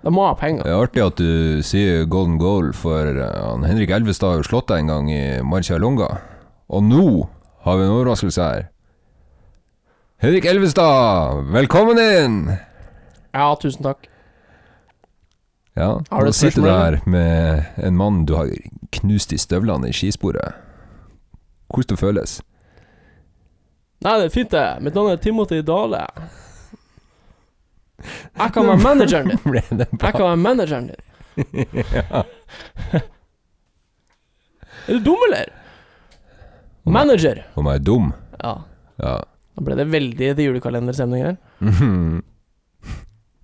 Da må jeg ha penger. Det er artig at du sier golden goal, for eh, han Henrik Elvestad har jo slått deg en gang i Marcialonga. Og nå har vi en overraskelse her. Henrik Elvestad, velkommen inn! Ja, tusen takk. Ja, Har du nå et sitter du spørsmål, her med en mann du har knust i støvlene i skisporet. Hvordan det føles? Nei, det er fint, det. Mitt navn er Timothy Dale. Jeg kan være manageren din. Ble det Jeg kan være manageren din. Er du dum, eller? Manager. Om jeg er dum? Ja. Ja. Da ble det veldig til julekalenderstemning her. Mhm.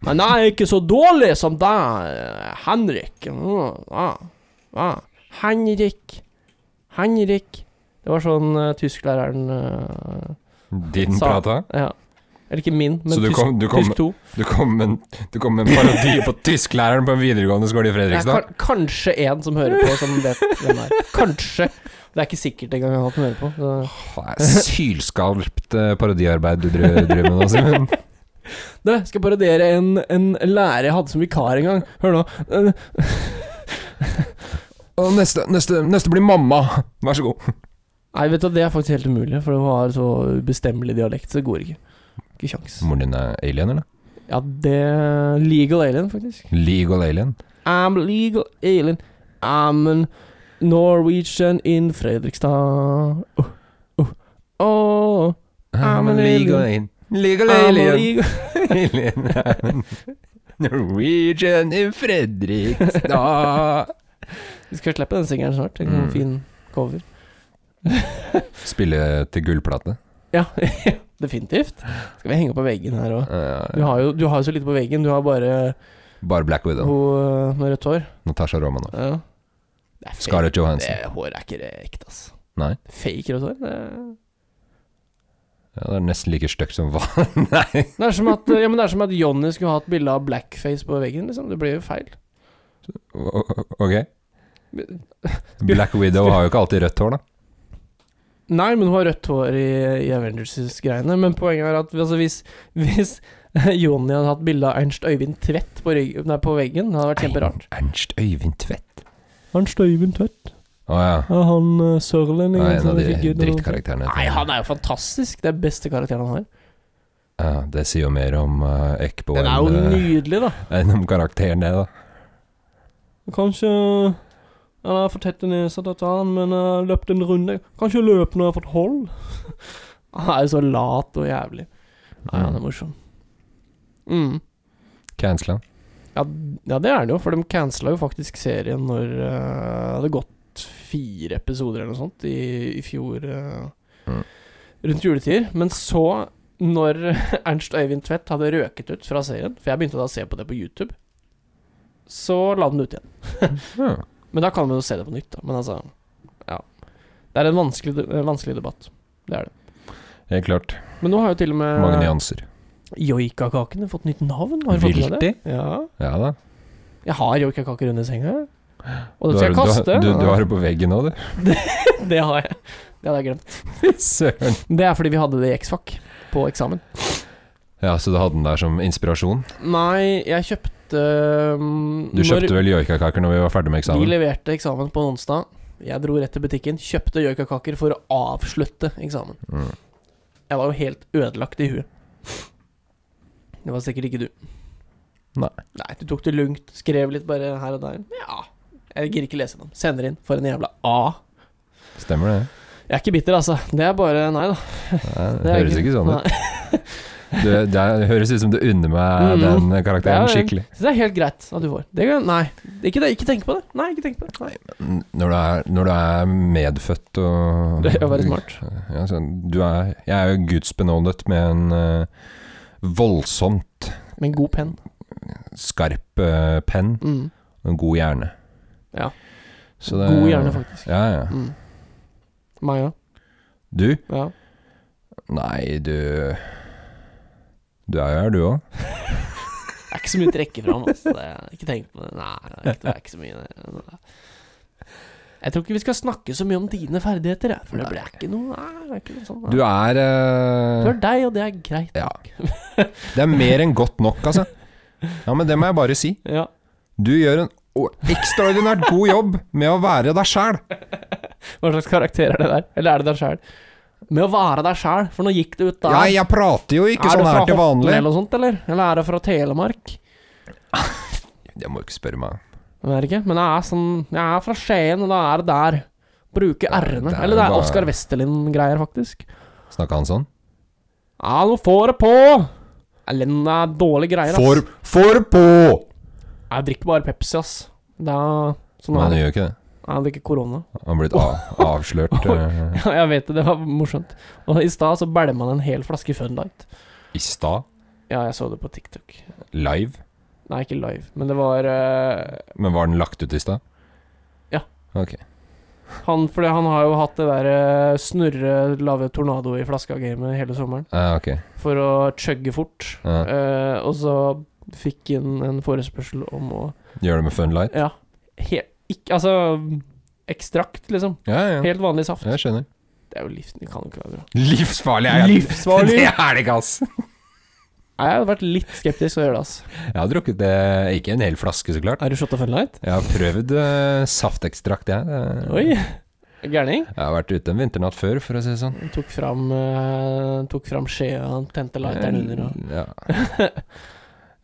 Men jeg er ikke så dårlig som deg, Henrik. Mm, ja, ja. Henrik. Henrik. Det var sånn uh, tysklæreren eh, Din Sa- prata? Ja. Eller ikke min, men Så du tysk, kom- du kom- tysk 2. Du kom med en, du kom med en parodi på tysklæreren på en videregående skole i Det er Fredrikstad. kan, kanskje en som hører på, som vet hvem det er. Kanskje. Det er ikke sikkert engang at han hører på. Så. Åh, det er Sylskarpt eh, parodiarbeid du dri- driver med nå, Simen. Du, skal jeg parodiere en, en lærer jeg hadde som vikar en gang. Hør nå. Eh, Og neste, neste, neste blir mamma. Vær så god. Nei, vet du, det er faktisk helt umulig, for hun har så ubestemmelig dialekt, så det går ikke. Ikke kjangs. Moren din er alien, eller? Ja, det er Legal alien, faktisk. Legal alien. I'm legal alien. I'm a Norwegian in Fredrikstad. Uh, uh, oh, I'm an alien. Ah, Legal I'm a alien. legal Alien. Norwegian i Fredrikstad. Vi skal slippe den singelen snart. Det er en Mm. fin cover. Spille til gullplate. Ja, definitivt. Skal vi henge på veggen her òg? Du Eh, har jo du har jo så lite på veggen. Du har bare Bare Black Widow. hun øh, med rødt hår. Natasha Romanoff. Ja. Det er fake. Scarlett Johansson. Det håret er ikke ekte, altså. Nei. Fake rødt hår. Det- Ja, det er nesten like stygt som hva Nei. Det er som at, ja, men det er som at Johnny skulle hatt bilde av blackface på veggen. Liksom. Det blir jo feil. O- o- Ok. Black Widow har jo ikke alltid rødt hår, da. Nei, men hun har rødt hår i, i Avengers-greiene. Men poenget er at altså, hvis, hvis Johnny hadde hatt bilde av Ernst Øyvind Tvedt på, rygg, nei, på veggen, det hadde vært kjemperart. Ernst Øyvind Tvedt. Ernst Øyvind Tvedt. Å ja. Ja, han uh, sørlendingen Ja, en som av de rygger noe- drittkarakterene. til- Nei, han er jo fantastisk! Det er beste karakteren han har. ja, det sier jo mer om uh, Ekbo Den er jo enn, eh, nydelig, da. enn om karakteren, det, da. Kanskje Han har fått tette nesa til han, men eh, jeg har løpt en runde. Kanskje jeg løper når jeg har fått hold? han er jo så lat og jævlig. Nei, han er morsom. Mm. Cancela. Ja, d- ja, det er han jo, for de cancela jo faktisk serien når eh, det hadde gått fire episoder eller noe sånt i, i fjor eh, Mm. rundt juletider. Men så, når Ernst Øyvind Tvedt hadde røket ut fra serien, for jeg begynte da å se på det på YouTube, så la den ut igjen. Ja. Men da kan man jo se det på nytt, da. Men altså Ja. Det er en vanskelig, de- en vanskelig debatt. Det er det. Helt klart. Men nå har jo til og med Mange nyanser. joikakakene fått nytt navn. Eh, Har du fått med deg det? Ja. Ja da. Jeg har joikakaker under senga. Og Du det skal jeg har- kaste. Du, du, du har det på veggen nå, du. Det har jeg. Det hadde jeg glemt. Søren. Det er fordi vi hadde det i X-Fac på eksamen. Ja, så du hadde den der som inspirasjon? Nei, jeg kjøpte um, Du kjøpte vel joikakaker når vi var ferdig med Vi eksamen? leverte eksamen på en onsdag. Jeg dro rett til butikken, kjøpte joikakaker for å avslutte eksamen. Mm. Jeg var jo helt ødelagt i huet. Det var sikkert ikke du. Nei. Nei, Du tok det lugnt, skrev litt bare her og der. Ja, jeg gir ikke lese dem. Sender inn for en jævla A. Stemmer det? Jeg er ikke bitter, altså. Det er bare Nei da. Nei, det Det er høres ikke sånn ut. Nei. Du, det er- høres ut som du unner meg Mm. den Ja, karakteren ja. skikkelig. Så det er helt greit at du får. Det kan, nei, ikke, det, ikke tenk på det. Nei, ikke tenk på det. Nei. Når du er, når du er medfødt og Det er å være smart. Ja, sånn, du er, jeg er jo gudsbenådet med en eh, voldsomt Med en god penn. skarp eh, penn Mm. og en god hjerne. Ja. Så det- God hjerne, faktisk. Ja, ja. Mm. Maja. Du? Ja. Nei, du Du er jo her, du òg. Det er ikke så mye å trekke fram. Altså. Det er, ikke tenk på det. Nei, det er ikke, det er ikke så mye. Nei. Jeg tror ikke vi skal snakke så mye om dine ferdigheter, jeg, for det blir ikke noe Nei, det er ikke noe sånn. Du Du, er eh, du er deg, og det er greit. Ja. Det er mer enn godt nok, altså. Ja, men det må jeg bare si. Ja. Du gjør en o- ekstraordinært god jobb med å være deg sjæl. Hva slags karakter er det der? Eller er det deg sjæl? Med å være deg sjæl, for nå gikk det ut der. Ja, jeg prater jo ikke er sånn du fra her til Horten vanlig. eller noe sånt, eller? Eller er det fra Telemark? Det må du ikke spørre meg. Jeg vet ikke, men jeg er sånn Jeg er fra Skien, og da er det der. Bruke r-ene. det er Eller det er bare- Oskar Westerlind-greier, faktisk. Snakka han sånn? Ja, nå får det på! Elend er dårlige greier, ass. For, for på! Jeg drikker bare Pepsi, ass. Det er sånn Men er han det. gjør ikke det. Jeg drikker korona. Han har blitt av, avslørt eh, Ja, jeg vet det, det var morsomt. Og i stad så bælma han en hel flaske Fun Light. i stad. Ja, jeg så det på TikTok. Live. Nei, ikke live, men det var eh, Men var den lagt ut i stad? Ja. Ok. Han fordi han har jo hatt det derre snurre, lave tornado i flaska-gamet hele sommeren Ja, Eh, ok. for å chugge fort. Ja. Eh, og så fikk han en forespørsel om å Gjør det med fun light? Ja, he, ikke, altså Ekstrakt, liksom. Ja, ja. Helt vanlig saft. Jeg skjønner. Det er jo livs... Det kan jo ikke være bra. Livsfarlig er jeg. Livsfarlig! Det er det ikke, ass. Nei, Jeg hadde vært litt skeptisk til å gjøre det, ass. Jeg har drukket det, ikke en hel flaske, så klart. Er du shot of funlight? Jeg har prøvd eh, saftekstrakt, jeg. Eh, Oi! Gærning. Jeg har vært ute en vinternatt før, for å si det sånn. Tok fram, eh, tok fram skjea, tente lighteren under og Ja.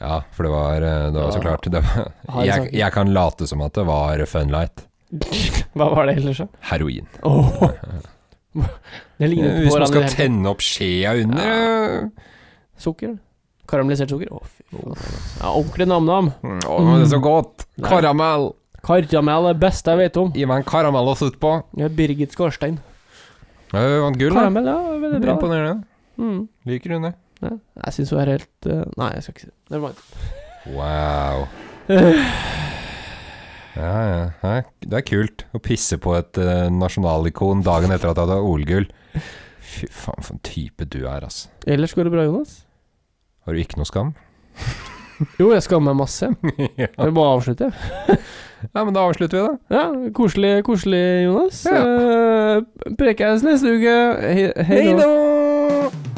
ja, for det var, eh, det var så Ja. klart det var, Har jeg jeg, sagt- jeg kan late som at det var funlight. Hva var det ellers, da? Heroin. Åh. Det ligner ikke Hvis på hverandre. man skal i det hele tenne opp skjea under eh, tatt. Sukker? Karamellisert sukker? Å, fy faen. Ja, ordentlig nam-nam. Mm, Å, det er så godt! Karamell! Karamell er det beste jeg vet om. Gi meg en karamell å sutte på. Ja, Birgit Skorstein. Ja, Hun vant gull, da. Karamell, ja, veldig bra. det. Imponerende. Mm. Liker hun det? Ja. Jeg syns hun er helt eh, Nei, jeg skal ikke si det. Never mind. Wow. Ja, ja. Nei, Det er kult å pisse på et eh, nasjonalikon dagen etter at du hadde OL-gull. Fy faen, for en type du er, ass. Ellers går det bra, Jonas? Har du ikke noe skam? Jo, jeg skammer meg masse. ja. Jeg vil bare avslutte, jeg. Nei, men da avslutter vi, da. Ja, koselig, koselig, Jonas. Ja. Eh, Prekes neste uke. He- Hei Hei då. da!